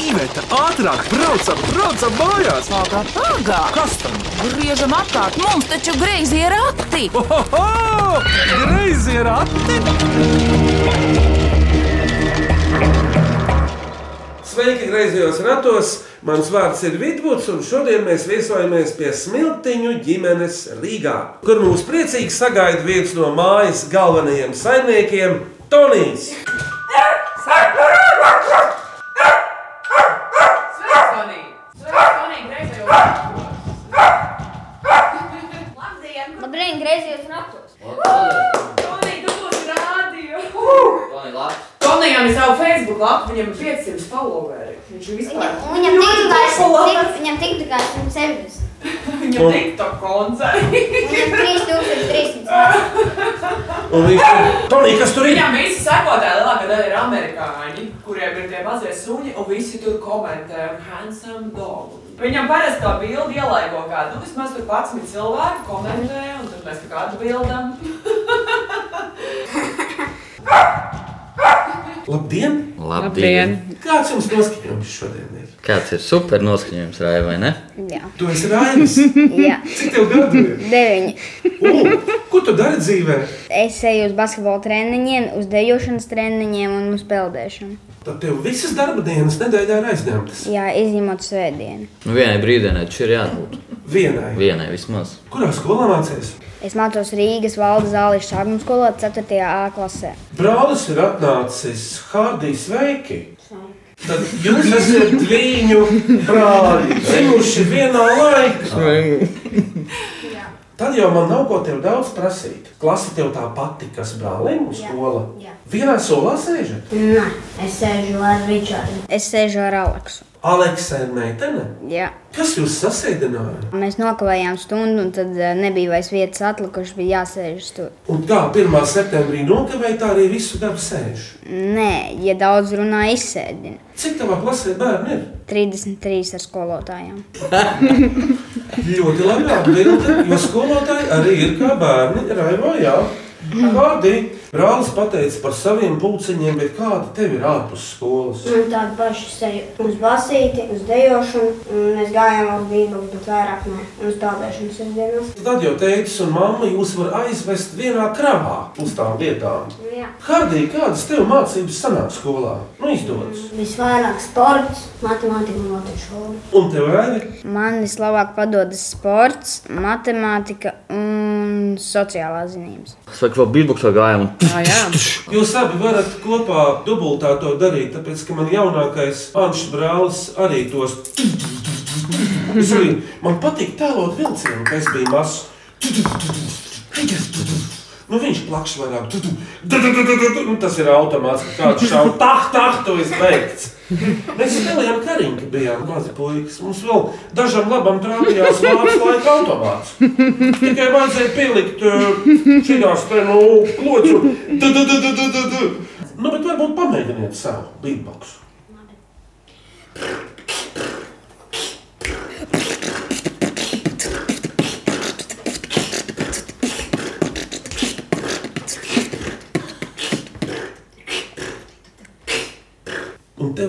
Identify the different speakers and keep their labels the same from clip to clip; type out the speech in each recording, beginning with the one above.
Speaker 1: Iveta, ātrāk, braucam, braucam mājās!
Speaker 2: Pagā, pagā!
Speaker 1: Kas tam?
Speaker 2: Griežam apkārt, mums taču greizi ir akti!
Speaker 1: Ohoho! Greizi ir ati!
Speaker 3: Sveiki, grazījos ratos! Mans vārds ir Vidvuds, un šodien mēs viesojamies pie smiltiņu ģimenes Rīgā, kur mūs priecīgi sagaida viens no mājas galvenajiem saimniekiem - Tonijs.
Speaker 4: Labdien!
Speaker 5: Labdien, griezties ratos!
Speaker 4: Tonija, tu būsi rādio!
Speaker 6: Labi,
Speaker 4: Tonijam ir savu Facebook lapu, viņam ir 500 followeri. Viņš ir vispār.
Speaker 5: Viņam tiktu kā tik- viņam tiktu kā 170.
Speaker 4: Viņam TikTok koncerti.
Speaker 5: Viņam 3300.
Speaker 3: Un viņš ir Tonija, kas tur ir?
Speaker 4: Viņam visi sekotāji lielākā daļa ir amerikāņi, kuriem ir tie mazie suņi, un visi tur komentē, handsome dog. Viņam parasti tā bilde ielaigo kādu, nu vismaz tur 11 cilvēki komentē, un tad mēs tā kā atbildam.
Speaker 3: Labdien!
Speaker 6: Labdien!
Speaker 3: Kāds jums noskaņojums šodien ir?
Speaker 6: Kāds ir super noskaņojums, Raiva, vai ne?
Speaker 5: Jā,
Speaker 3: Tu esi Rainis!
Speaker 5: jā.
Speaker 3: Cik tev gadu ir?
Speaker 5: 9.
Speaker 3: U, ko tu dari dzīvē?
Speaker 5: Es eju uz basketbalu treniņiem, uz dēlošanas treniņiem un uz peldēšanu.
Speaker 3: Tad tev visas darba dienas nedēļā ir aizņemtas.
Speaker 5: Jā, izņemot svētdienu.
Speaker 6: Nu, vienai brīdienai taču ir jābūt.
Speaker 3: Vienai.
Speaker 6: Vienai vismaz.
Speaker 3: Kurā skolā mācījies?
Speaker 5: Es mācos Rīgas valdes zāles šāpuma skolā 4. A klasē.
Speaker 3: Brālis ir atnācis Hārdijas veiki. Tad jūs esat viņu brāli, dzimuši vienā laikā. Tad jau man nav ko tev daudz prasīt. Klasa tev tā pati, kas brālim uz skola.
Speaker 5: Jā.
Speaker 3: Vienā solā sēžat.
Speaker 5: Nē, es sēžu ar Ričardu. Es sēžu ar Aleksu.
Speaker 3: Aleksai ir meitene.
Speaker 5: Jā.
Speaker 3: Kas jūs sasēdināja?
Speaker 5: Mēs nokavējām stundu, un tad eh, nebija vairs vietas atlikušas, bija jāsēž tur.
Speaker 3: Un tā 1. septembrī nokavēja, tā arī visu gadu sēž.
Speaker 5: Nē, ja daudz runā, izsēdina.
Speaker 3: Cik tavā klasē bērni ir?
Speaker 5: 33 ar skolotājiem.
Speaker 3: Ļoti labi atbildēji, jo skolotāji arī ir kā bērni. Raivo, jā, kādi brālis pateica par saviem pulciņiem, bet kādi tev ir ārpus skolas?
Speaker 7: Man tāda paša seja uz basīti, uz dēlošanu, un mēs gājām uz dīvainu, bet vairāk ne. Un uz peldēšanu sestdienās.
Speaker 3: Tad jau teica, un mamma jūs var aizvest vienā kravā uz tām vietām.
Speaker 7: Jā.
Speaker 3: Kādi, kādas tev mācības sanāk skolā? Nu, izdodas.
Speaker 7: Visvairāk sports, matemātika un latviešu valoda.
Speaker 3: Un tev arī?
Speaker 5: Man vislabāk padodas sports, matemātika un sociālā zinības.
Speaker 6: Es vēl kaut bilbuksā gāju un
Speaker 2: Jā, jā.
Speaker 3: Jūs abi varat kopā dubultā to darīt, tāpēc, ka man jaunākais Anšs brālis arī tos Es arī man patīk tēlot vilcienu, kas bija mazs. Nu, viņš plakš vairāk. Tu, tu, da, da, da, da, da, da. Nu, tas ir automāts, kā kāds šauj. Tā, tā, tu esi beigts. Mēs spēlējām kariņu, kad bijām mazi puikas. Mums vēl dažam labam trāpījās vārds laika automāts. Tikai vajadzēja pielikt šīs te nu, no kloķu. Da, da, da, da, da, da, da. Nu, bet varbūt pamēģiniet savu beatboxu. Un te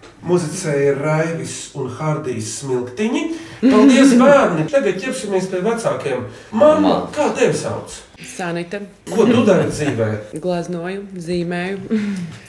Speaker 3: Muzicēja Raivis un Hārdijas smiltiņi. Paldies, bērni! Tagad ķersimies pie vecākiem. Māma, kā tevi sauc?
Speaker 8: Sanita,
Speaker 3: Ko tu dari dzīvē?
Speaker 8: glaznoju, zīmēju,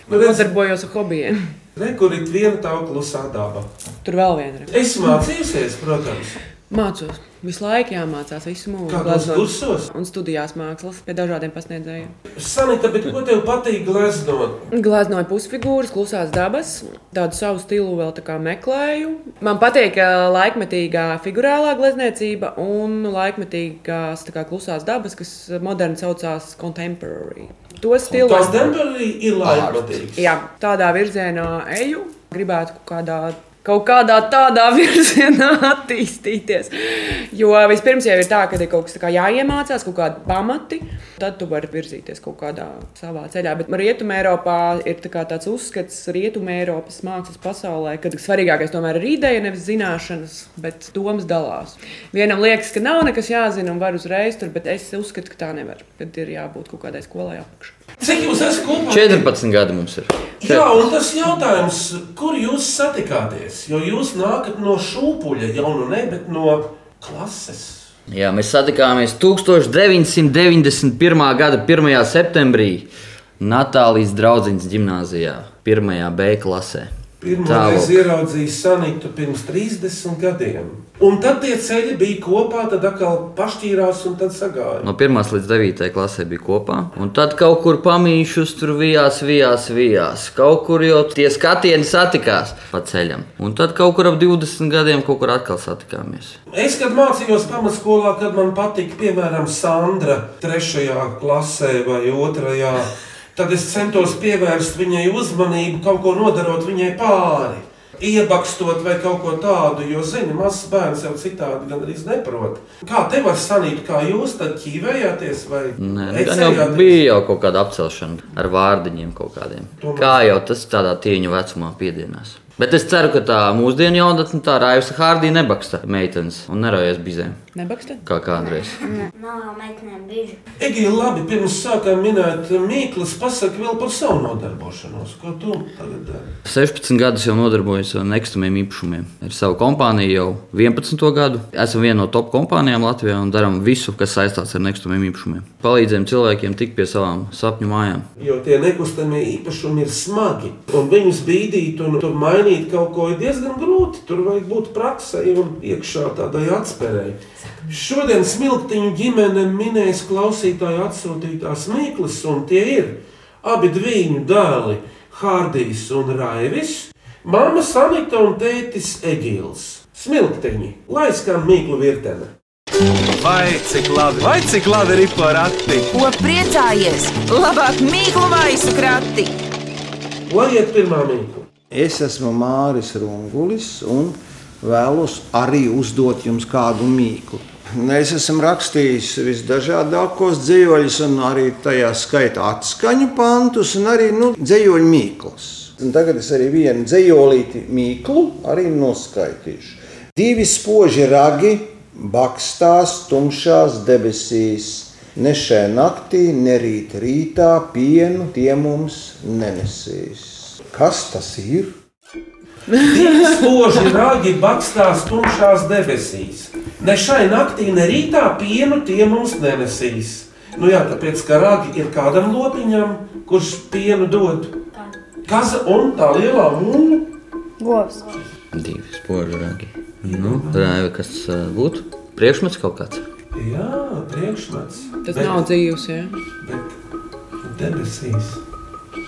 Speaker 3: Nu, redz,
Speaker 8: nodarbojos ar hobijiem.
Speaker 3: re, kur ir viena tava klusā daba.
Speaker 8: Tur vēl viena. ir.
Speaker 3: Es mācījusies, protams,
Speaker 8: Mācos, visu laiku jāmācās, visu mūžu
Speaker 3: kādos
Speaker 8: glaznot.
Speaker 3: kursos.
Speaker 8: Un studijās mākslas pie dažādiem pasniedzējiem.
Speaker 3: Sanita, bet ko tev patīk gleznot?
Speaker 8: Glaznoju pusfigūras, klusās dabas, tādu savu stilu vēl tā kā meklēju. Man patīk ā, laikmetīgā figurālā glezniecība un laikmetīgās tā kā klusās dabas, kas modern saucās contemporary. To stilu.
Speaker 3: Tas temperī ir laikmatīgs.
Speaker 8: Jā, tādā virzienā eju. Gribētu kaut kādā Kaut kādā tādā virzienā attīstīties. Jo vispirms jau ir tā, ka ir kaut kas tā kā jāiemācās, kaut kādi pamati, tad tu vari virzīties kaut kādā savā ceļā. Bet Rietumē Eiropā ir tā kā tāds uzskats, Rietumē Eiropas mākslas pasaulē, ka svarīgākais tomēr ir ideja, nevis zināšanas, bet domas dalās. Vienam liekas, ka nav nekas jāzina un var uzreiz tur, bet es uzskatu, ka tā nevar. Tad ir jābūt kaut kādai skolai apakšā.
Speaker 3: Cik jūs esat kopā?
Speaker 6: 14 gadi mums ir.
Speaker 3: Jā, un tas jautājums, kur jūs satikāties? Jo jūs nākat no šūpuļa, jau nu ne, bet no klases.
Speaker 6: Jā, mēs satikāmies 1991. gada 1. septembrī Natālijas draudzības gimnājā, 1. B klasē.
Speaker 3: Pirmais
Speaker 6: Tālāk.
Speaker 3: ieraudzīju Sanitu pirms 30 gadiem. Un tad tie ceļi bija kopā, tad atkal pašķīrās un tad sagāja.
Speaker 6: No 1 līdz 9 klasē bija kopā. Un tad kaut kur pamīšus tur vijās, vijās, vijās. Kaut kur jau tie skatieni satikās pa ceļam. Un tad kaut kur ap 20 gadiem kaut kur atkal satikāmies.
Speaker 3: Es, kad mācījos pamatskolā, kad man patika, piemēram, Sandra, trešajā klasē vai otrajā, tad es centos pievērst viņai uzmanību, kaut ko nodarot viņai pāri. Iebakstot vai kaut ko tādu, jo, zini, mazs bērns jau citādi gandrīz neprot. Kā te var sanīt, kā jūs tad ķīvējāties vai
Speaker 6: Nē, nu, gan jau
Speaker 3: ecējāties?
Speaker 6: bija jau kaut kāda apcelšana ar vārdiņiem kaut kādiem.
Speaker 3: Tomēr.
Speaker 6: Kā jau tas tādā tīņu vecumā piedienās. Bet es ceru, ka tā mūsdienu jaunatne, tā Raivs Hārdī nebaksta meitenes un nerojas bizēm,
Speaker 8: Nebakstē?
Speaker 6: kā kādreiz.
Speaker 7: Nav jau meitenēm bieži.
Speaker 3: Egīna, labi, pirms sākām minēt Mīklas, pasaki vēl par savu nodarbošanos. Ko tu tagad dari?
Speaker 6: 16 gadus jau nodarbojos ar nekustamiem īpašumiem. Ar savu kompāniju jau 11 gadu. Esam viena no top kompānijām Latvijā un darām visu, kas saistīts ar nekustamiem īpašumiem. Palīdzējam cilvēkiem tikt pie savām sapņu mājām.
Speaker 3: Jo tie nekustamie īpašumi ir smagi, un viņus bīdīt un tur mainīt kaut ko ir diezgan grūti. Tur vajag būt praksē un iekšā tādai atspērēji. Šodien smiltiņu ģimene minēs klausītāju atsūtītās Mīklas, un tie ir abi viņu dēli - Hārdijs un Raivis, māma Sanita un tētis Egīls. Smiltiņi, lai skan Mīklu virtene!
Speaker 1: Vai cik labi, vai cik labi ir porakti?
Speaker 2: Ko priecājies? Labāk mīklu maisu krati!
Speaker 3: Lai iet pirmā mīkla.
Speaker 9: Es esmu Māris Rungulis un vēlos arī uzdot jums kādu mīklu. Mēs esam rakstījuši visdažādākos dzīsļus, un arī tajā skaitā atskaņu pantus, un arī nu, dzīsļu mīklas. Un tagad es arī vienu dzīslīti mīklu arī noskaitīšu. Divi spoži ragi bakstās tumšās debesīs. Ne šai naktī, ne rīt rītā pienu tie mums nenesīs. Kas tas ir?
Speaker 3: Divi spoži rāgi bakstās tumšās debesīs. Ne šai naktī, ne rītā pienu tie mums nenesīs. Nu jā, tāpēc, ka rāgi ir kādam lopiņam, kurš pienu dod. Kaza un tā lielā mūna.
Speaker 5: Govs.
Speaker 6: Divi spoži ragi. Nu, Raivi, kas uh, būtu? Priekšmets kaut kāds.
Speaker 3: Jā, priekšmets.
Speaker 8: Tas nav dzīvs. Ja?
Speaker 3: Bet debesīs.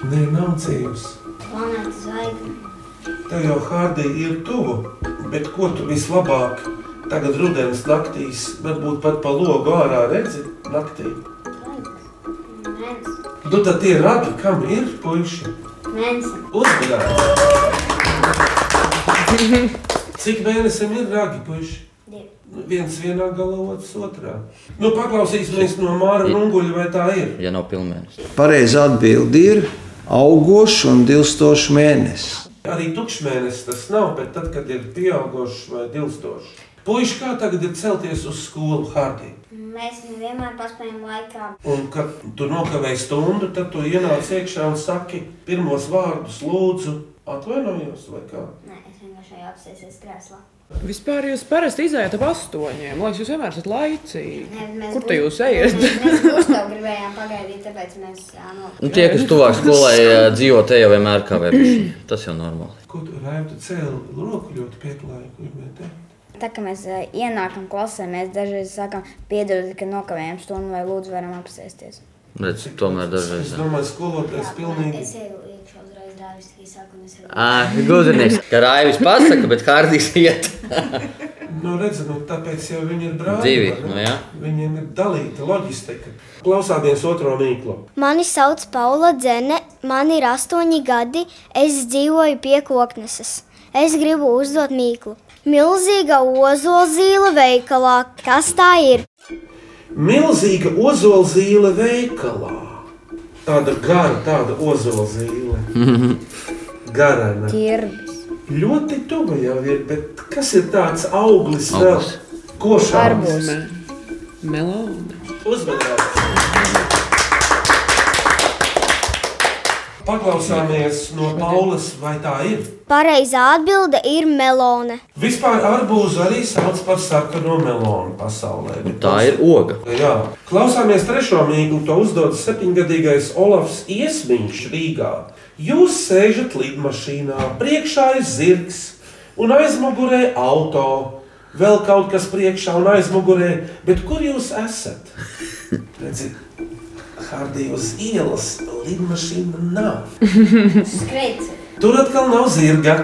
Speaker 3: Nē, nav dzīves.
Speaker 7: Planēta zvaigzne.
Speaker 3: Tev jau Hārdī ir tuvu, bet ko tu vislabāk tagad rudenī naktīs, varbūt pat pa logu ārā redzi naktī?
Speaker 7: Mēnesis.
Speaker 3: Nu, tad tie ragi, kam ir puiši,
Speaker 7: Mēnesis.
Speaker 3: uzmanīgi. Cik mēnesim ir ragi, puiši?
Speaker 7: Divi.
Speaker 3: Nu, Viens vienā galā, otrs otrā. Nu, paklausīsimies no Māra Runguļa, vai tā ir.
Speaker 6: Ja nav pilnvērtīgs.
Speaker 9: Pareizā atbilde ir augošs un dilstošs mēnesis.
Speaker 3: Arī tukšmēnesis tas nav, bet tad, kad ir pieaugušs vai dilstošs. Puiši, kā tagad ir celties uz skolu Hārdī?
Speaker 7: Mēs vienmēr paspējam laikā.
Speaker 3: Un, kad tu nokavēji stundu, tad tu ienāc iekšā un saki pirmos vārdus, lūdzu, atvainojos, vai kā?
Speaker 7: Nē, es vienkārši apsēsies krēslā.
Speaker 8: Vispār jūs parasti izējāt ap astoņiem. Lai jūs vienmēr esat laicīgi.
Speaker 7: Nē, mēs
Speaker 8: Kur te
Speaker 7: gu-
Speaker 8: jūs ejat?
Speaker 7: Mēs, mēs gustav gribējām pagaidīt, tāpēc mēs
Speaker 6: Nu,
Speaker 7: nokļuvām.
Speaker 6: tie, kas tuvāk skolai uh, dzīvo, te jau vienmēr kā vērtīgs. Tas jau normāli.
Speaker 3: Ko tu rēptu cēlu roku ļoti pieklājīgi? gribēju teikt.
Speaker 5: Tā kā mēs eh, ienākam klasē, mēs dažreiz sakām, piedodiet, ka nokavējam stundu vai lūdzu varam apsēsties.
Speaker 6: Redz, tomēr dažreiz.
Speaker 3: Es domāju, skolotājs pilnīgi.
Speaker 7: Es eju iekšā uzreiz dārviski sāku un es eju.
Speaker 6: Ah, Gudrinieks, ka Raivis pasaka, bet Hārdīs iet.
Speaker 3: Nu, redzi, nu, tāpēc jau viņi ir brāļi.
Speaker 6: Divi,
Speaker 3: vai ne?
Speaker 6: nu jā.
Speaker 3: Viņiem ir dalīta loģistika. Klausāties otro mīklu.
Speaker 10: Mani sauc Paula Dzene, man ir astoņi gadi, es dzīvoju pie kokneses. Es gribu uzdot mīklu. Milzīga ozola zīle veikalā. Kas tā ir?
Speaker 3: Milzīga ozola zīle veikalā. Tāda gara, tāda ozola zīle. Garana.
Speaker 5: Ķirbis.
Speaker 3: Ļoti tuvu jau ir, bet kas ir tāds auglis vēl?
Speaker 6: Auglis.
Speaker 3: Košārs.
Speaker 5: Arbūs.
Speaker 8: Melona.
Speaker 3: Uzmanības! Paklausāmies no Paulas, vai tā ir.
Speaker 10: Pareizā atbilde ir melone.
Speaker 3: Vispār arbūzu arī sauc par sarkano melonu pasaulē. bet
Speaker 6: Nu, Tā ir oga.
Speaker 3: Nu Jā. Klausāmies trešo mīklu, to uzdod septiņgadīgais Olofs Iesmiņš Rīgā. Jūs sēžat lidmašīnā, priekšā ir zirgs un aizmugurē auto. Vēl kaut kas priekšā un aizmugurē, bet kur jūs esat? Redziet, Hardijas ielas lidmašīna nav.
Speaker 7: Skriet.
Speaker 3: Tur atkal nav zirga,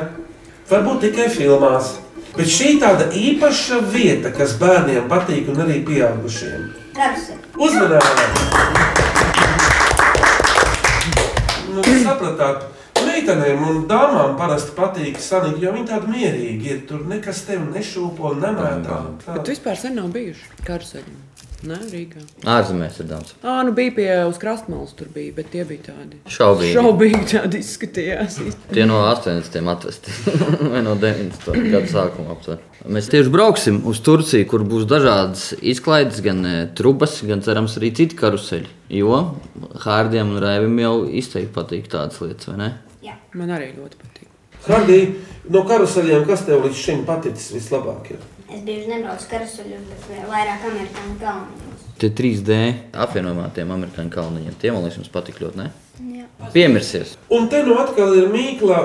Speaker 3: varbūt tikai filmās. Bet šī tāda īpaša vieta, kas bērniem patīk un arī pieaugušiem.
Speaker 7: Rapsi.
Speaker 3: Uzmanīgi! Nu, sapratāt, meitenēm un dāmām parasti patīk sanīkt, jo viņi tādi mierīgi ir. Tur nekas tevi nešūpo, nemētā.
Speaker 8: Bet vispār sen nav bijuši karuseļi. Nē, Rīgā.
Speaker 6: Ārzemēs ir daudz.
Speaker 8: Ā, nu bija pie uz krastmalas, tur bija, bet tie bija tādi.
Speaker 6: Šaubīgi.
Speaker 8: Šaubīgi tādi izskatījās.
Speaker 6: Tie no 80. atvesti vai no 90. gada sākuma aptuveni. Mēs tieši brauksim uz Turciju, kur būs dažādas izklaides, gan eh, trubas, gan cerams arī citi karuseļi. Jo Hārdiem un Raivim jau izteikti patīk tādas lietas, vai ne?
Speaker 8: Man arī ļoti patīk.
Speaker 3: Hardī, no karuseļiem, kas tev līdz šim paticis vislabāk? Ir?
Speaker 7: Es bieži nebraucu karasuļus, bet vairāk amerikāņu galvenos.
Speaker 6: Tie 3D apvienojumā tiem amerikāņu kalniņiem. Tie man liekas, mums patīk ļoti, ne? Jā. Piemirsies.
Speaker 3: Un te nu atkal ir mīkla.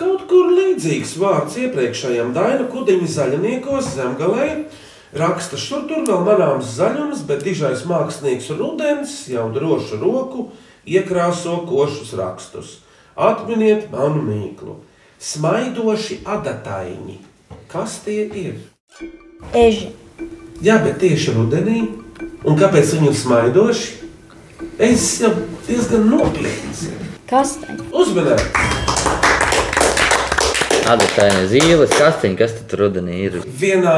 Speaker 3: Kaut kur līdzīgs vārds iepriekšējam Daina Kudiņa zaļniekos zemgalē. Raksta šur tur vēl manāms zaļums, bet dižais mākslinieks Rudens jau drošu roku iekrāso košus rakstus. Atminiet manu mīklu. Smaidoši adataini. Kas tie ir?
Speaker 5: Eži.
Speaker 3: Jā, bet tieši rudenī. Un kāpēc viņi ir smaidoši? Es jau diezgan nopietns.
Speaker 5: Kastaņa.
Speaker 3: Uzmanīgi!
Speaker 6: Tāda kā ir zīle, kastiņa, kas tad rudenī ir.
Speaker 3: vienā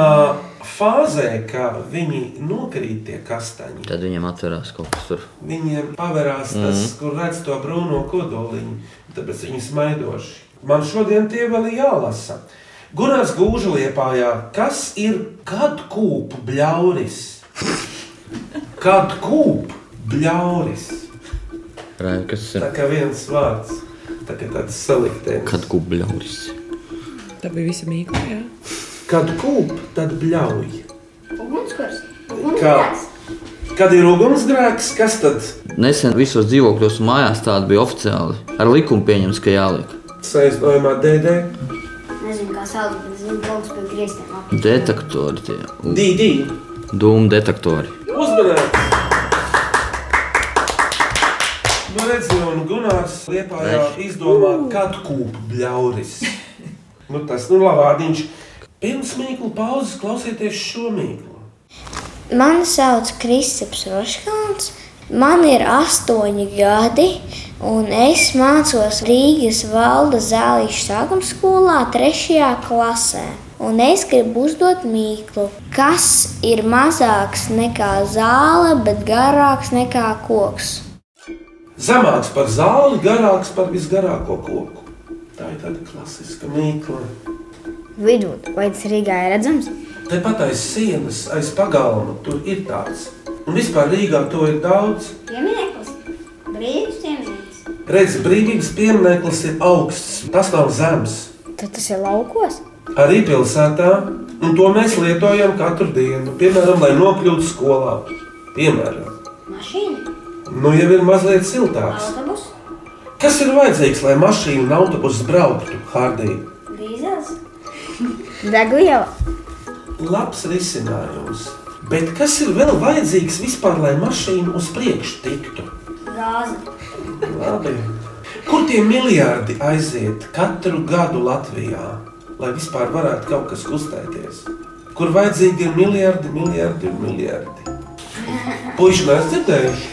Speaker 3: fāzē, kad viņi nokrīt tie kastaņi,
Speaker 6: Tad viņiem atverās kaut kas tur.
Speaker 3: viņiem pavērās tas, mm. kur redz to brūno kodoliņu. Tāpēc viņi smaidoši. Man šodien tie vēl ir jālasa. Gunārs Gūža liepājā, kas ir kad kūpu bļauris? Kad kūpu bļauris?
Speaker 6: Raivi, kas tas
Speaker 3: Tā
Speaker 6: ir?
Speaker 3: kā viens vārds, tā kā tāds saliktējums.
Speaker 6: Kad gubļauris.
Speaker 8: Tā bija visa mīkla, jā.
Speaker 3: Kad kūp, tad bļauj.
Speaker 7: Ugunskurs.
Speaker 3: Kā?
Speaker 7: Ugunskurs.
Speaker 3: Kad ir ugunsgrēks, kas tad
Speaker 6: Nesen visos dzīvokļos un mājās tāda bija oficiāli. Ar likumu pieņems, ka jāliek.
Speaker 3: saistībā DD?
Speaker 7: Nezinu, kā sauc, bet zinu, kaut kas pie griestiem. ap.
Speaker 6: Detektori tie.
Speaker 3: DD.
Speaker 6: Dūmu detektori.
Speaker 3: Uzmanīgi! Nu, redziet, un Gunārs liepā jau izdomā, kad kūp bļauris. Nu, tas, nu, labvārdiņš. Pirms mīklu pauzes klausieties šo mīklu.
Speaker 10: Mani sauc Kristaps Roškāns. Man ir astoņi gadi, un es mācos Rīgas valda zālīšu sākuma skolā, trešajā klasē. Un es gribu uzdot mīklu, kas ir mazāks nekā zāle, bet garāks nekā koks.
Speaker 3: Zemāks par zāli, garāks par visgarāko koku. Tā ir tāda klasiska mīkla.
Speaker 5: Vidū. Vai tas Rīgā ir redzams?
Speaker 3: Tepat aiz sienas, aiz pagalma, tur ir tāds. Un vispār Rīgā to ir daudz.
Speaker 7: Pieminieklis. Brīvs pieminieklis.
Speaker 3: Redzi, brīvības piemineklis ir augsts, tas nav zems.
Speaker 5: Tad tas ir laukos.
Speaker 3: arī pilsētā, un to mēs lietojam katru dienu. Piemēram, lai nokļūtu skolā. Piemēram,
Speaker 7: Mašīna.
Speaker 3: nu jau ir mazliet siltāks.
Speaker 7: Autobus.
Speaker 3: Kas ir vajadzīgs, lai mašīna un autobuss brauktu Hardī?
Speaker 7: Dīzels.
Speaker 5: Degviela.
Speaker 3: Labs risinājums. Bet kas ir vēl vajadzīgs vispār, lai mašīna uz priekšu tiktu?
Speaker 7: Gāze.
Speaker 3: Labi. Kur tie miljardi aiziet katru gadu Latvijā, lai vispār varētu kaut kas kustēties? Kur vajadzīgi ir miljardi, miljardi un miljardi? Puisši mēs dzirdējuši.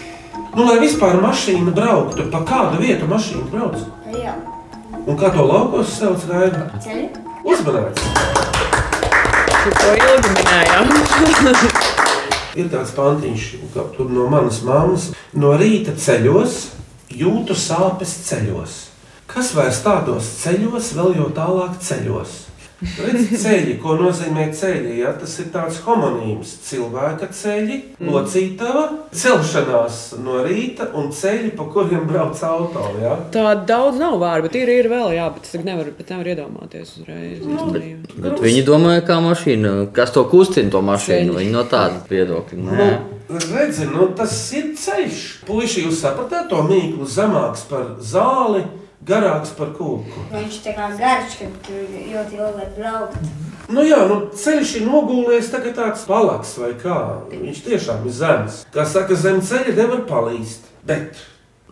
Speaker 3: Nu, lai vispār mašīna brauktu, pa kādu vietu mašīna brauc.
Speaker 7: Jā.
Speaker 3: Un kā to laukos sauc, Raina?
Speaker 7: Ceļi.
Speaker 3: Uzmanīts!
Speaker 8: To ilgi minējām.
Speaker 3: Ir tāds pantiņš, ka tur no manas mammas no rīta ceļos, jūtu sāpes ceļos. Kas vairs tādos ceļos, vēl jau tālāk ceļos? Redzi, ceļi, ko nozīmē ceļi? Ja? Tas ir tāds homonīms cilvēka ceļi,
Speaker 1: Mm.
Speaker 3: locītava, celšanās no rīta un ceļi, pa kuriem brauc auto. Ja?
Speaker 8: Tā daudz nav vārdu, bet ir, ir vēl, jā, bet es tagad nevaru, bet nevaru iedomāties uzreiz. Bet,
Speaker 6: Bet viņi domāja, kā mašīna, kas to kustina, to mašīnu. Viņi no tāda viedokļa.
Speaker 3: Nu,
Speaker 6: Nē.
Speaker 3: redzi, nu, tas ir ceļš. Puisī, jūs sapratāt to mīklu zemāks par zāli, garāks par kūku.
Speaker 7: Viņš tā kā garš, ka tur ļoti ilgi var braukt.
Speaker 3: Nu jā, nu ceļš ir nogulējis, tagad tāds palaks vai kā. Viņš tiešām ir zems. Kā saka, zem ceļa nevar palīst. Bet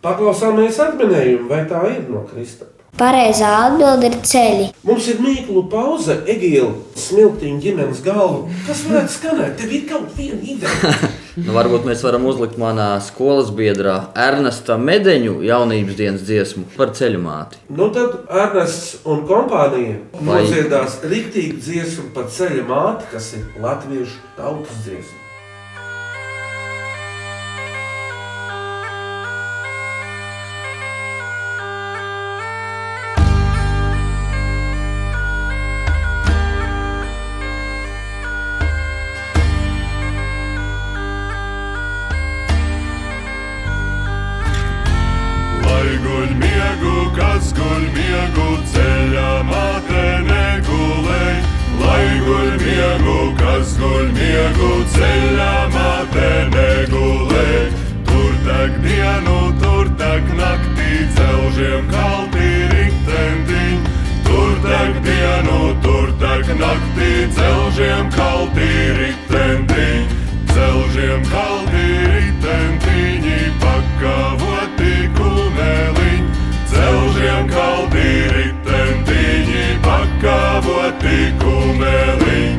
Speaker 3: paklausāmies atminējumu, vai tā ir no Krista.
Speaker 10: Pareizā atbilde ir ceļi.
Speaker 3: Mums ir mīklu pauze, Egīla, smiltiņa ģimenes galva. Kas varētu skanēt? Tev ir kaut viena ideja.
Speaker 6: Nu, varbūt mēs varam uzlikt manā skolas biedrā Ernesta Medeņu jaunības dienas dziesmu par ceļu māti.
Speaker 3: Nu tad Ernests un kompānija
Speaker 6: Vai-
Speaker 3: nodziedās rīktīgu dziesmu par ceļa māti, kas ir latviešu tautas dziesma.
Speaker 11: Lai guļ miegu, kas guļ miegu ceļā, māte negulēj. Lai guļ miegu, kas guļ miegu ceļā, māte negulēj. Tur tak dienu, tur tak naktī celžiem kalti riktentiņ. Tur tak dienu, tur tak naktī celžiem kalti riktentiņ. Celžiem kalti ritentiņi pakavoti kuneliņi, Celžiem kalti ritentiņi pakavoti kuneliņi.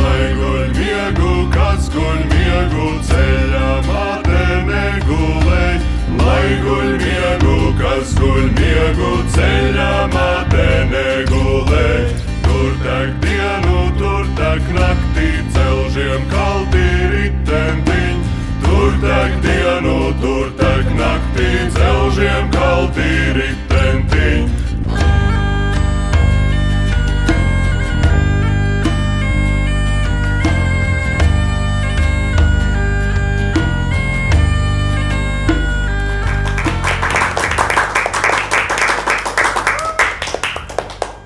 Speaker 11: Lai guļ miegu, kas guļ miegu ceļā, māte negulēj. Lai guļ miegu, kas guļ miegu ceļā, māte negulēj. Tur tak dienu, tur tak naktī celžiem kalti ritentiņ. Tur tak dienu, tur tak naktī celžiem kalti ritentiņ.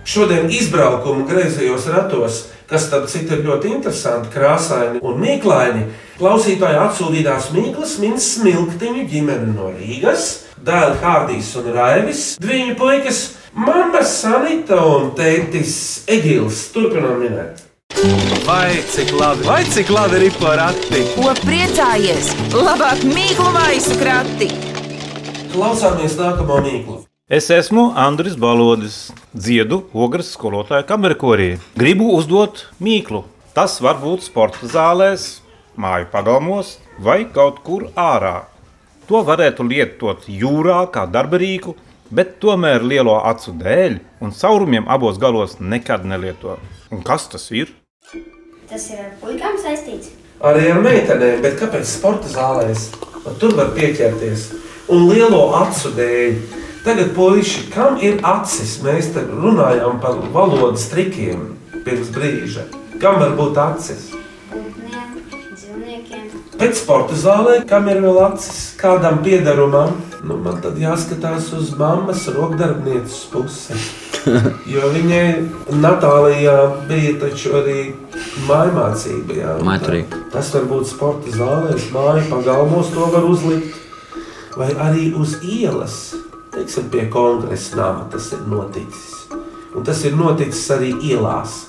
Speaker 3: Šodien izbraukuma griezījos ratos, kas starp citu ir ļoti interesanti, krāsaini un mīklaini. Klausītāji atsūtītās mīklas minēta smilktiņu ģimene no Rīgas, dēls Hārdīs un Raivis, divi puikas, mamma Sanita un tētis Egils. Turpinām minēt.
Speaker 1: Vai cik labi, vai cik labi ir porati?
Speaker 2: Ko priecājies? Labāk mīklu maisu krati!
Speaker 3: Klausāmies nākamo mīklu.
Speaker 12: Es esmu Andris Balodis, dziedu ogres skolotāja kamerkorī. Gribu uzdot mīklu. Tas var būt sporta zālēs, māju pagalmos vai kaut kur ārā. To varētu lietot jūrā kā darbarīku, bet tomēr lielo acu dēļ un caurumiem abos galos nekad nelieto. Un kas tas ir?
Speaker 7: Tas ir ar puikām saistīts.
Speaker 3: Arī ar meitenēm, bet kāpēc sporta zālēs? Pat Tur var pieķerties un lielo acu dēļ. Tagad, puiši, kam ir acis? Mēs te runājām par valodas trikiem pirms brīža. Kam var būt acis?
Speaker 7: Putniem, dzīvniekiem.
Speaker 3: Pēc sporta zālē, kam ir vēl acis, kādam piedarumam, nu, man tad jāskatās uz mammas rokdarbnieces pusi. Jo viņai Natālijā bija taču arī mājmācība. jā. Un
Speaker 6: Maiturība.
Speaker 3: tā- Tas var būt sporta zālēs, māju pagalmos to var uzlikt. Vai arī uz ielas, teiksim, pie kongresa nama tas ir noticis. Un tas ir noticis arī ielās.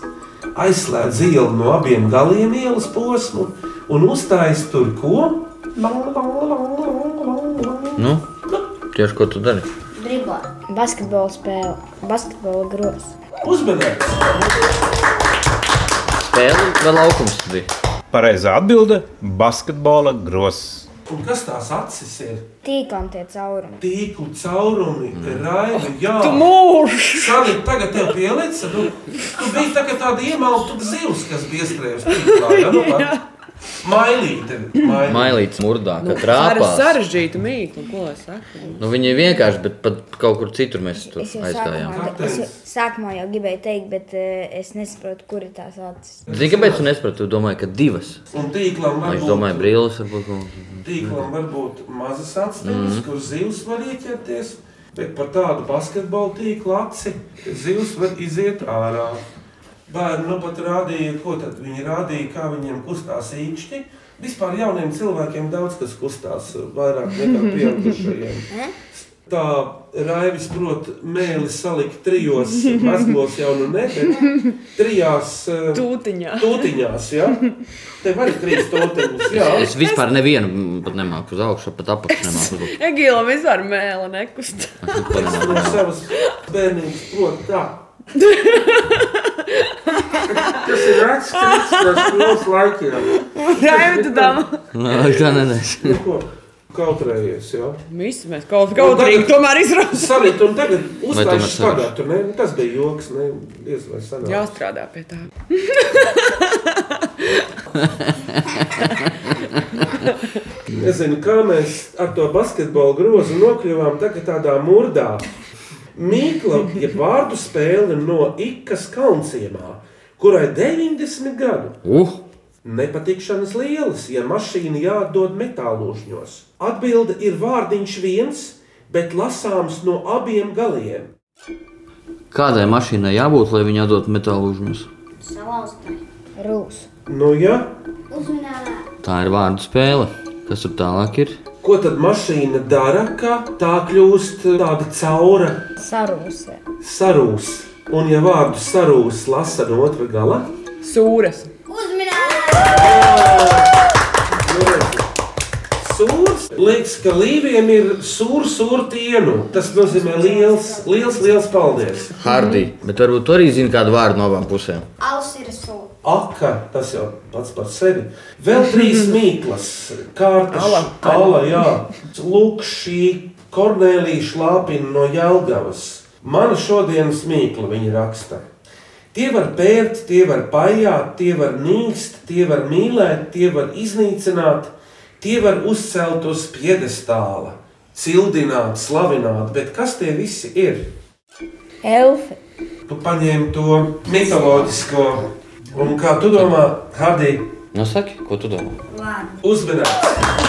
Speaker 3: aizslēdz ielu no abiem galiem ielas posmu un uzstājas tur, ko?
Speaker 6: Nu, tieši ko tu dari?
Speaker 5: Driblā. Basketbola spēle. Basketbola grozs.
Speaker 3: Uzmanīgs!
Speaker 6: Spēle vai laukums tas bija?
Speaker 12: Pareizā atbilde - basketbola grozs.
Speaker 3: Un kas tās acis ir?
Speaker 5: Tīklam tie caurumi.
Speaker 3: Tīklu caurumi, raibi, jā.
Speaker 5: Tu
Speaker 3: mūžs! Sani, tagad tev pielica, nu, tu biji tā kā tāda iemalta zivs, kas bija iestrējusi tīklā, ja nu pat. Mailīte, mailīte.
Speaker 6: Mailīts murdā,
Speaker 8: Nu,
Speaker 6: kā
Speaker 8: ar
Speaker 6: trāpās.
Speaker 8: sarežģītu mīklu, ko es saku.
Speaker 6: Nu, viņi ir vienkārši, bet pat kaut kur citur mēs tur
Speaker 5: Es jau sākumā,
Speaker 6: aizgājām.
Speaker 5: es jau, sākumā jau gribēju teikt, bet eh, es nesaprotu, kur ir tās acis.
Speaker 6: Zini, kāpēc tu nesaprati? Tu domāji, ka divas.
Speaker 3: Un tīklam
Speaker 6: Es
Speaker 3: varbūt-
Speaker 6: domāju, brīlis varbūt. kaut-
Speaker 3: Tīklam var būt mazas atsteņas,
Speaker 6: Mhm.
Speaker 3: mm. kur zivs var ieķerties, bet par tādu basketbalu tīklu aci zivs var iziet ārā. Bērni nu pat rādīja, ko tad viņi rādīja, kā viņiem kustās īkšķi. Vispār jauniem cilvēkiem daudz kas kustās vairāk nekā pieaugušajiem. Tā raivis prot mēli salikt trijos mazgos jau nu ne, bet trijās eh,
Speaker 8: Tūtiņā.
Speaker 3: tūtiņās, jā. Tev arī trīs tūtiņas, jā.
Speaker 6: Es vispār nevienu pat nemāku uz augšu, pat apakšu nemāku uz augšu.
Speaker 8: Egīla vispār mēla nekust.
Speaker 3: Es no savas bērnības protu tā. Tas ir raksturīgs no skolas laikiem.
Speaker 8: Raivi, tu tam.
Speaker 6: Nē, tā nē, nē.
Speaker 3: Nu ko, Kautrējies, jā.
Speaker 8: Visi mēs kaut kautrīgi tomēr izraudzījām.
Speaker 3: Sarīt, un tagad
Speaker 6: tomēr
Speaker 3: uzstājuši
Speaker 6: sarīt?
Speaker 3: skagātu, ne? nu, Tas bija joks, ne? Diez vai sanāk.
Speaker 8: Jāstrādā pie tā.
Speaker 3: Nezinu, kā mēs ar to basketbolu grozu nokļuvām tagad tādā murdā. Mīkla ir vārdu spēle no Ikas kalnciemā, kurai 90 gadu.
Speaker 6: Uh!
Speaker 3: Nepatikšanas lielas, ja mašīna jāatdod metālošņos. Atbilde ir vārdiņš viens, bet lasāms no abiem galiem.
Speaker 6: Kādai mašīnai jābūt, lai viņa atdotu metālu uzņus?
Speaker 7: Salauzta.
Speaker 5: Rūs.
Speaker 3: Nu, ja?
Speaker 7: Uzmanā.
Speaker 6: Tā ir vārdu spēle. Kas tur tālāk ir?
Speaker 3: Ko tad mašīna dara, ka tā kļūst tāda caura,
Speaker 5: Sarūsē.
Speaker 3: sarūs? Un, ja vārdu sarūs lasa no otra gala,
Speaker 8: Sūras.
Speaker 3: Sūrs liekas, ka līvijam ir sūrs, sūrtienu. Tas nozīmē liels, liels, liels paldies.
Speaker 6: Hardī. Bet varbūt tu arī zini kādu vārdu no abām pusēm.
Speaker 7: Alus ir sūds.
Speaker 3: Aka, tas jau pats par sevi. Vēl trīs mīklas, kārtas, ala, jā. Lūk, šī Kornelija šlāpina no Jelgavas. Mana šodienas mīkla viņa raksta. Tie var pērt, tie var pajāt, tie var nīst, tie var mīlēt, tie var iznīcināt, tie var uzcelt uz piedestāla, cildināt, slavināt, bet kas tie visi ir?
Speaker 5: Elfi.
Speaker 3: Tu paņēmi to mitoloģisko, un kā tu domā, Hardī,
Speaker 6: Nosaki, ko tu domā?
Speaker 3: uzmanīgs?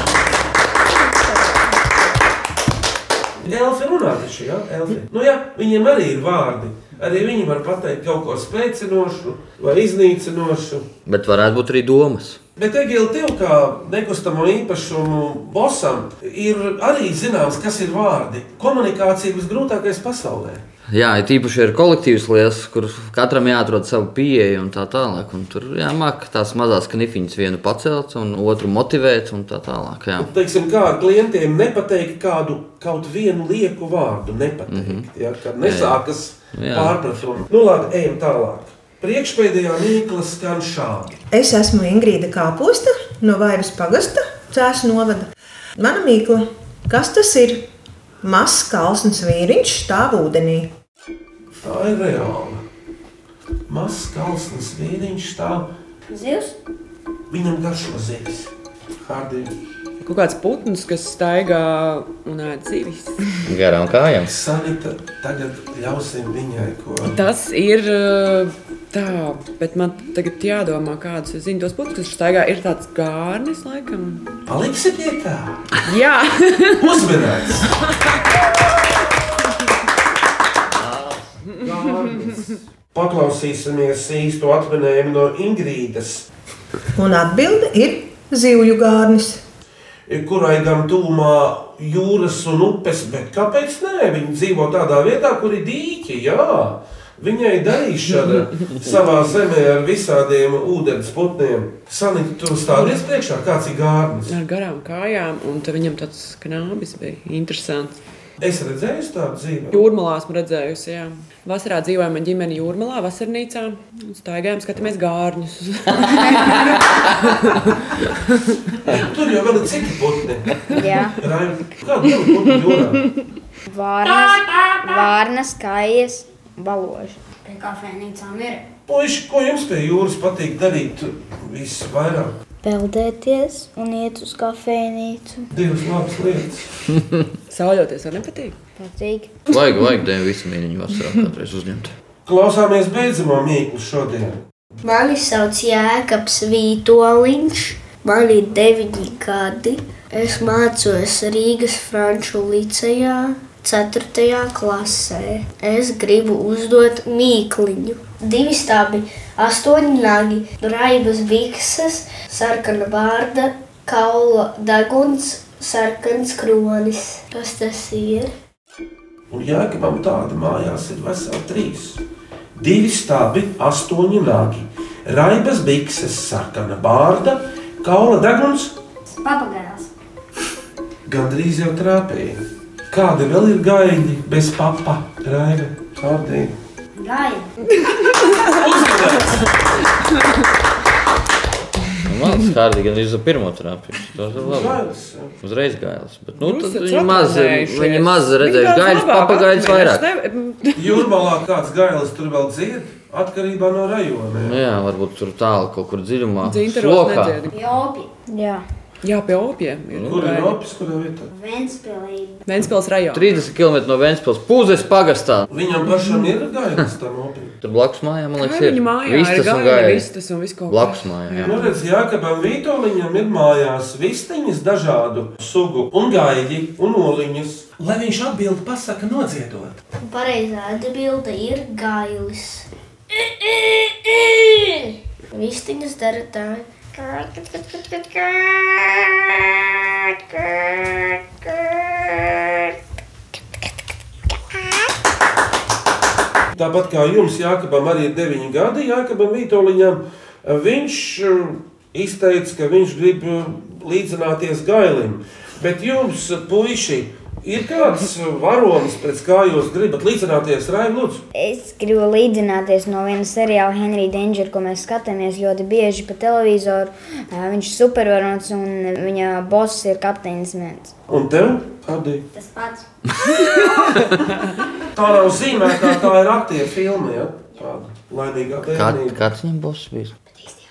Speaker 3: Elfi runā taču, jā, elfi. Nu, jā, viņiem arī ir vārdi. Arī viņi var pateikt kaut ko spēcinošu vai iznīcinošu.
Speaker 6: Bet varētu būt arī domas.
Speaker 3: Bet, Egil, tev kā nekustamo īpašumu bosam ir arī zināms, kas ir vārdi. Komunikācija ir visgrūtākais pasaulē.
Speaker 6: Jā, ir īpaši ir kolektīvs lietas, kur katram jāatrod savu pieeju un tā tālāk. Un tur jāmāk tās mazās knifiņas vienu pacelt un otru motivēt un tā tālāk. Jā.
Speaker 3: Teiksim, kā ar klientiem nepateikt kādu kaut vienu lieku vārdu, nepateikt. Mm -hmm. ja, kad nesākas
Speaker 6: Mhm. Jā.
Speaker 3: pārpratumi. Nu, labi, ejam tālāk. Priekšpēdējā mīkla skan šādi.
Speaker 13: Es esmu Ingrīda Kāposta no Vaivas pagasta, Cēlā novada. Mana mīkla, kas tas ir? Mazs kalns vīriņš stāv ūdenī.
Speaker 3: Tā ir reāla. Mazs kalsnes vīriņš stāv.
Speaker 7: Zivs.
Speaker 3: Viņam garšo zivs. Hardīgi.
Speaker 8: Kaut kāds putns, kas staigā un ēd zivis.
Speaker 6: Garām kājām.
Speaker 3: Sanita, tagad ļausim viņai ko.
Speaker 8: Tas ir uh, tā, bet man tagad jādomā, kādas ir tos putns, kas staigā. Ir tāds gārnis, laikam.
Speaker 3: Paliksi pie tā.
Speaker 8: Jā,
Speaker 3: Uzmanīgs. Paklausīsimies īsto atminējumu no Ingrīdas.
Speaker 13: Un atbilde ir zivju gārnis.
Speaker 3: kurai gan tuvumā jūras un upes, bet kāpēc nē? Viņi dzīvo tādā vietā, kur ir dīķi. Jā. Viņai darīšana savā zemē ar visādiem ūdens putniem sanīja tur stāties priekšā, kāds ir gārnis.
Speaker 8: Ar garām kājām, un tad viņam tāds knābis bija interesants.
Speaker 3: Es redzēju tādu dzīvi.
Speaker 8: Jūrmalā esmu redzējusi, jā. Vasarā dzīvojam ar ģimeni jūrmalā, vasarnīcā. Un Staigājām, skatāmies gārņus.
Speaker 3: Tur jau vēl ir citi putni.
Speaker 5: Jā.
Speaker 3: Raim, Kāda ir putna jūrā?
Speaker 5: Vārnas, vārnas kājas, baloži.
Speaker 7: Pie kafejnīcām ir.
Speaker 3: Puiši, ko jums pie jūras patīk darīt visvairāk?
Speaker 10: Peldēties un iet uz kafejnīcu.
Speaker 3: Divas labas lietas.
Speaker 8: Sauļoties, vai nepatīk?
Speaker 10: Patīk.
Speaker 6: Vajag, vajag dēļ visu mīniņu vasarā kādreiz uzņemt.
Speaker 3: Klausāmies beidzamo mīklu šodien.
Speaker 10: Mani sauc Jēkabs Vītoliņš, man ir deviņi gadi. Es mācos Rīgas Franču licejā, 4. klasē. Es gribu uzdot mīkliņu. Divi stābi, astoņi nagi, raibas bikses, sarkana vārda, kaula deguns, sarkans kronis. Kas tas ir?
Speaker 3: Un Jēkabam tāda mājās ir veseli trīs. Divi stābi, astoņi nāgi, raibas bikses, sarkana bārda, kaula deguns,
Speaker 7: Papagailis.
Speaker 3: gandrīz jau trāpīja. Kāda vēl ir gaiņa bez papa, raiba, kārdīna?
Speaker 6: Nu, Man skārdi gan uz pirmo trāpīju. Tas ir labi.
Speaker 3: Gailis.
Speaker 6: Uzreiz gailis. Bet, nu,
Speaker 3: Jūs
Speaker 6: tad
Speaker 3: esat
Speaker 6: viņi maz,
Speaker 3: atmanējušies.
Speaker 6: viņi maz redzējuši
Speaker 3: Viņi daudz
Speaker 6: gailis,
Speaker 3: labāk
Speaker 6: papagaidis
Speaker 3: atminas,
Speaker 6: vairāk.
Speaker 3: Jūrmalā kāds gailis tur vēl dzied, atkarībā no rajona.
Speaker 6: Nu Jā, varbūt tur tālu kaut kur dziļumā.
Speaker 8: Dzintaros
Speaker 6: lokā.
Speaker 8: nedzied.
Speaker 7: Jopi.
Speaker 5: Jā.
Speaker 8: Jā, pie opiem. ir
Speaker 3: Kur ir
Speaker 8: gaļa.
Speaker 3: opis, kurā vietā?
Speaker 7: Ventspēlī.
Speaker 8: Ventspils rajonā.
Speaker 6: 30 km no Vēncpils pūzes pagastā.
Speaker 3: Viņam pašam ir gailis tam opim.
Speaker 6: Tur blakus mājām, man
Speaker 8: Kā
Speaker 6: liekas, ir.
Speaker 8: viņa mājā ir
Speaker 6: vistas un
Speaker 8: gaļa,
Speaker 6: gaļa.
Speaker 8: vistas un viss kaut kas.
Speaker 6: Blakus mājām,
Speaker 3: Nu,
Speaker 6: jā.
Speaker 3: redz, Jākabam Vitoļņam ir mājās vistiņas dažādu sugu, un gaļi, un oliņas. Lai viņš atbild, pasaka nodziedot.
Speaker 10: Pareizā atbilde ir gailis. Vistiņas dara tā.
Speaker 3: Tāpat kā jums, Jākabam, arī ir deviņi gadi, Jākabam Vitoļņam, viņš uh, izteica, ka viņš grib uh, līdzināties gailim. Bet jums, uh, puiši, ir kāds uh, varonis, pēc kā jūs gribat līdzināties Raim Lūdzu?
Speaker 5: Es gribu līdzināties no viena seriāla Henrija Dangera, ko mēs skatāmies ļoti bieži pa televizoru. Ā, Viņš ir supervaronis un viņa boss ir kapteinis Mēnesis.
Speaker 3: Un tev, Adī?
Speaker 7: Tas pats.
Speaker 3: Tā nav zīmēta, tā ir aktieru filma, ja? Tāda laimīgā
Speaker 6: Kā-
Speaker 3: bērnība.
Speaker 6: Kāds viņam boss bija?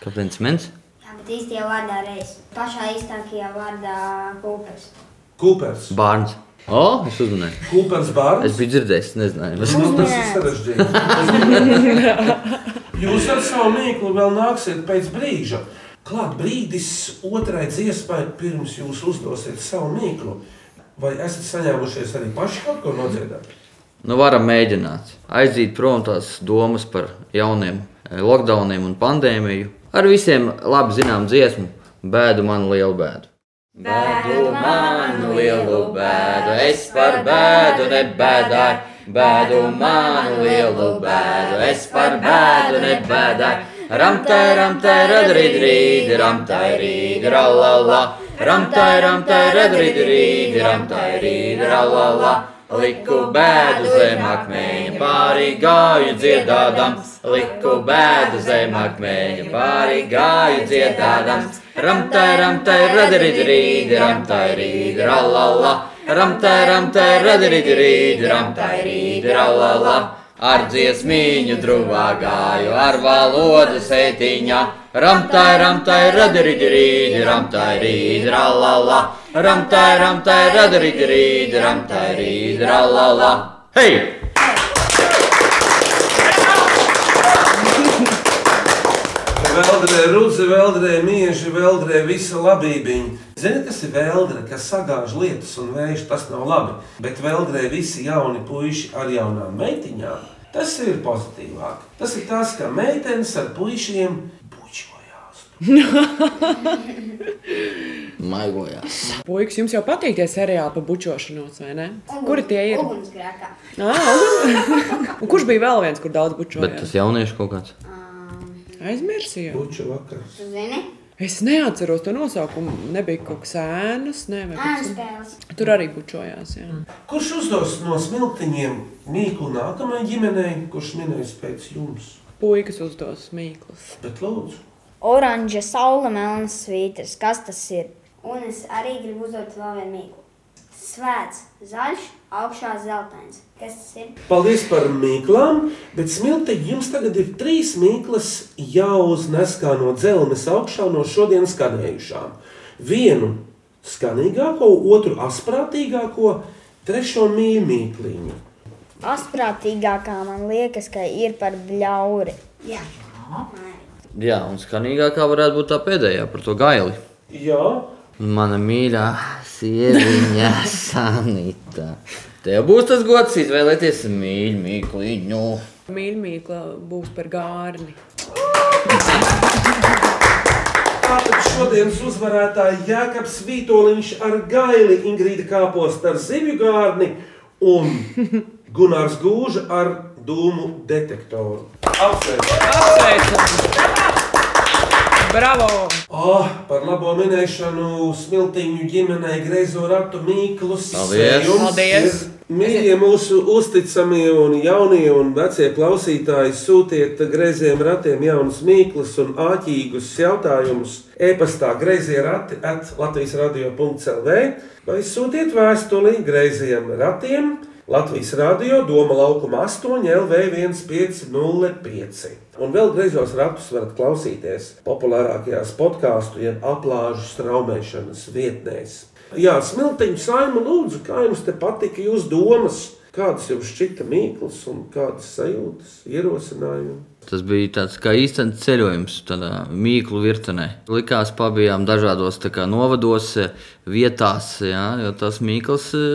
Speaker 6: Kapteinis Mens?
Speaker 7: Jā, bet īstajā vārdā reizes. Pašā īstākajā vārdā kūpers.
Speaker 3: Kūpers.
Speaker 6: Bārns. O, es uzmanēju.
Speaker 3: Kūpers Bārns.
Speaker 6: Es biju dzirdējis, nezināju.
Speaker 3: Nu, tas ir sarežģīti. Jūs ar savu mīklu vēl nāksiet pēc brīža. Klāt brīdis otrai dziesmai, pirms jūs uzdosiet savu mīklu. Vai esat saņēmušies arī paši kaut ko nodziedāt?
Speaker 6: Nu, varam mēģināt aiziet prom no tās domas par jauniem eh, lockdowniem un pandēmiju. Ar visiem labi zinām dziesmu, bēdu man lielu bēdu.
Speaker 14: Bēdu manu lielu bēdu,
Speaker 6: es par bēdu nebēdāju. Bēdu manu lielu bēdu, es par bēdu nebēdāju. Ramtai, ramtai, redrīt, rīt, ramtai, rīt, rallala. Ramtai, ramtai, redrīt, rīt, ramtai, rīt, rallala. Liku bēdu zem akmeņa, pāri gāju dziedādams. Liku bēdu zem akmeņa, pāri gāju dziedādams. Ramtai, ramtai, redrīt, rīt, ramtai, rīt, rallala. Ramtai, ramtai, redrīt, rīt, ramtai, rīt, rallala. Ar dziesmiņu drūmā gāju, ar valodu sētiņā. Ramtai, ramtai, radarīt, rīt, ramtai, rīt, rallala. Ramtai, ramtai, radarīt, rīt, ramtai, rīt, rallala. Hei!
Speaker 3: Veldrē, rudze, veldrē, mieži, veldrē, visa labība. Ziniet, kas ir veldre, kas sagāž lietas un vējš, tas nav labi. Bet veldrē visi jauni puiši ar jaunām meitiņām, tas ir pozitīvāk. Tas ir tas, ka meitenes ar puišiem bučojās.
Speaker 14: maigojās.
Speaker 8: Puikas, jums jau patīk tie seriāli par bučošanos, vai ne? Kuri tie ir?
Speaker 7: Ugunsgrēkā.
Speaker 8: Ā, uguns- Un kurš bija vēl viens, kur daudz
Speaker 6: Bet
Speaker 8: bučojās?
Speaker 6: tas jauniešu kaut kāds.
Speaker 8: Aizmirsīju. Buču vakars.
Speaker 7: Tu zini?
Speaker 8: Es neatceros to nosaukumu. Nebija kaut kas ēnas, ne, vai
Speaker 7: Ah.
Speaker 8: kaut kas-
Speaker 7: Ēnspēles.
Speaker 8: Tur arī bučojās. Jā.
Speaker 3: Kurš uzdos no smiltiņiem mīklu nākamajai ģimenei, kurš minēs pēc jums?
Speaker 8: Puikas uzdos mīklas.
Speaker 3: Bet lūdzu,
Speaker 5: Oranža, saule, melnas svītras. Kas tas ir?
Speaker 7: Un es arī gribu uzdot vēl vienu mīklu. Svēts, zaļš, augšā zeltains. Kas tas ir?
Speaker 3: paldies par mīklām, bet smiltiņi jums tagad ir trīs mīklas jāuznes kā no dzelnes augšā no šodienas skanējušām. Vienu skanīgāko, otru asprātīgāko, trešo mīmīkliņu.
Speaker 5: Asprātīgākā man liekas, ka ir par bļauri.
Speaker 7: Jā.
Speaker 6: Jā, un skanīgākā varētu būt tā pēdējā par to gaili.
Speaker 3: Jā,
Speaker 6: Mana mīļā sieviņa Sanita. Tev būs tas gods izvēlēties mīļu mīkliņu.
Speaker 8: Mīļmīkla būs par gārni.
Speaker 3: Tātad šodienas uzvarētāja Jēkabs Vitoļņš ar gaili, Ingrīda kāposta ar zivju gārni un Gunārs Gūža ar dūmu detektoru.
Speaker 8: Bravo!
Speaker 3: Oh, par labo minēšanu smiltiņu ģimenei Greizo ratu Mīklus.
Speaker 6: Paldies.
Speaker 3: Jums
Speaker 8: Paldies.
Speaker 3: ir Mīļie mūsu uzticamie un jaunie un vecie klausītāji, sūtiet greiziem ratiem jaunus mīklus un āķīgus jautājumus e-pastā greizie rati at Latvijas radio.clv vai sūtiet vēstuli greiziem ratiem Latvijas radio Doma laukuma 8 LV1505. Un vēl greizos ratus varat klausīties populārākajās podkāstu, jeb aplāžu straumēšanas vietnēs. Jā, smiltiņa saima, lūdzu, kā jums te patika jūsu domas? Kādas jums šķita mīklas un kādas sajūtas, ierosinājumi?
Speaker 6: Tas bija tāds kā īstenis ceļojums, tādā mīklu virtenē. Likās, pabijām dažādos tā kā, novados, eh, vietās, jā, jo tas mīkls, eh,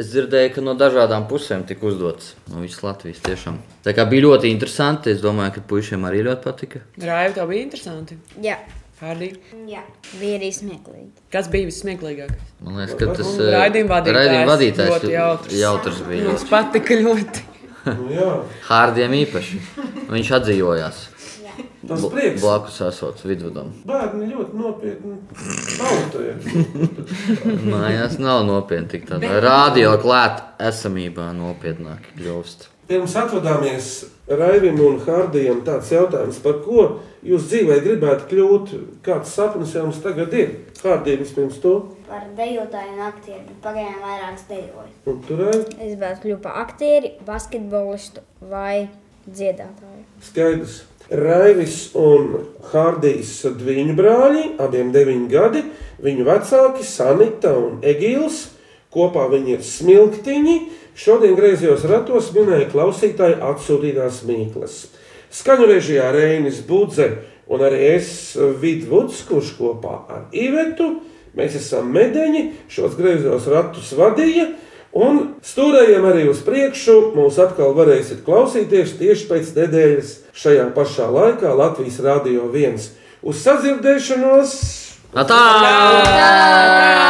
Speaker 6: es dzirdēju, ka no dažādām pusēm tika uzdots. No visas Latvijas tiešām. Tā kā bija ļoti interesanti, es domāju, ka puišiem arī ļoti patika.
Speaker 8: Raivi, tev bija interesanti.
Speaker 5: Jā,
Speaker 8: Hardīgi.
Speaker 5: Jā. bija arī smieklīgi.
Speaker 8: Kas bija vissmieklīgākais?
Speaker 6: Man liekas, ka tas eh,
Speaker 8: Raidījuma vadītājs.
Speaker 6: raidījuma vadītājs
Speaker 8: ļoti jautrs.
Speaker 6: jautrs bija.
Speaker 8: Mums patika ļoti.
Speaker 3: Nu
Speaker 6: Hārdiem īpaši. Viņš atdzīvojās.
Speaker 3: Tas
Speaker 6: Bl-
Speaker 3: prieks.
Speaker 6: Blakus esot vidudam.
Speaker 3: Bērni ļoti nopietni tautoja.
Speaker 6: Mājās nav nopietni tik tādā. Radio klāt esamībā nopietnāk kļūst.
Speaker 3: Pirms atvadāmies Raivim un Hārdijam, tāds jautājums, par ko jūs dzīvē gribētu kļūt, kāds sapnis jums tagad ir? Hārdijam vispirms to,
Speaker 7: Par dejotāju un aktieru, bet pagaidām vairākas dejoju.
Speaker 3: un tur ir
Speaker 5: Es gribētu kļūt par aktieri, basketbolistu vai dziedātāju.
Speaker 3: skaidrs. Raivis un Hārdijs divi brāļi, abiem deviņi gadi, viņu vecāki Sanita un Egīls. Kopā viņi ir smiltiņi. Šodien griezījos ratos minēja klausītāju atsūtītās mīklas. Skaņu režijā Reinis Budze un arī es Vidvuds, kurš kopā ar Ivetu mēs esam medeņi, šos griezos ratus vadīja. Un stūrējiem arī uz priekšu mūs atkal varēsiet klausīties tieši pēc nedēļas šajā pašā laikā Latvijas Rādio 1. Uz sadzirdēšanos!
Speaker 6: Atā!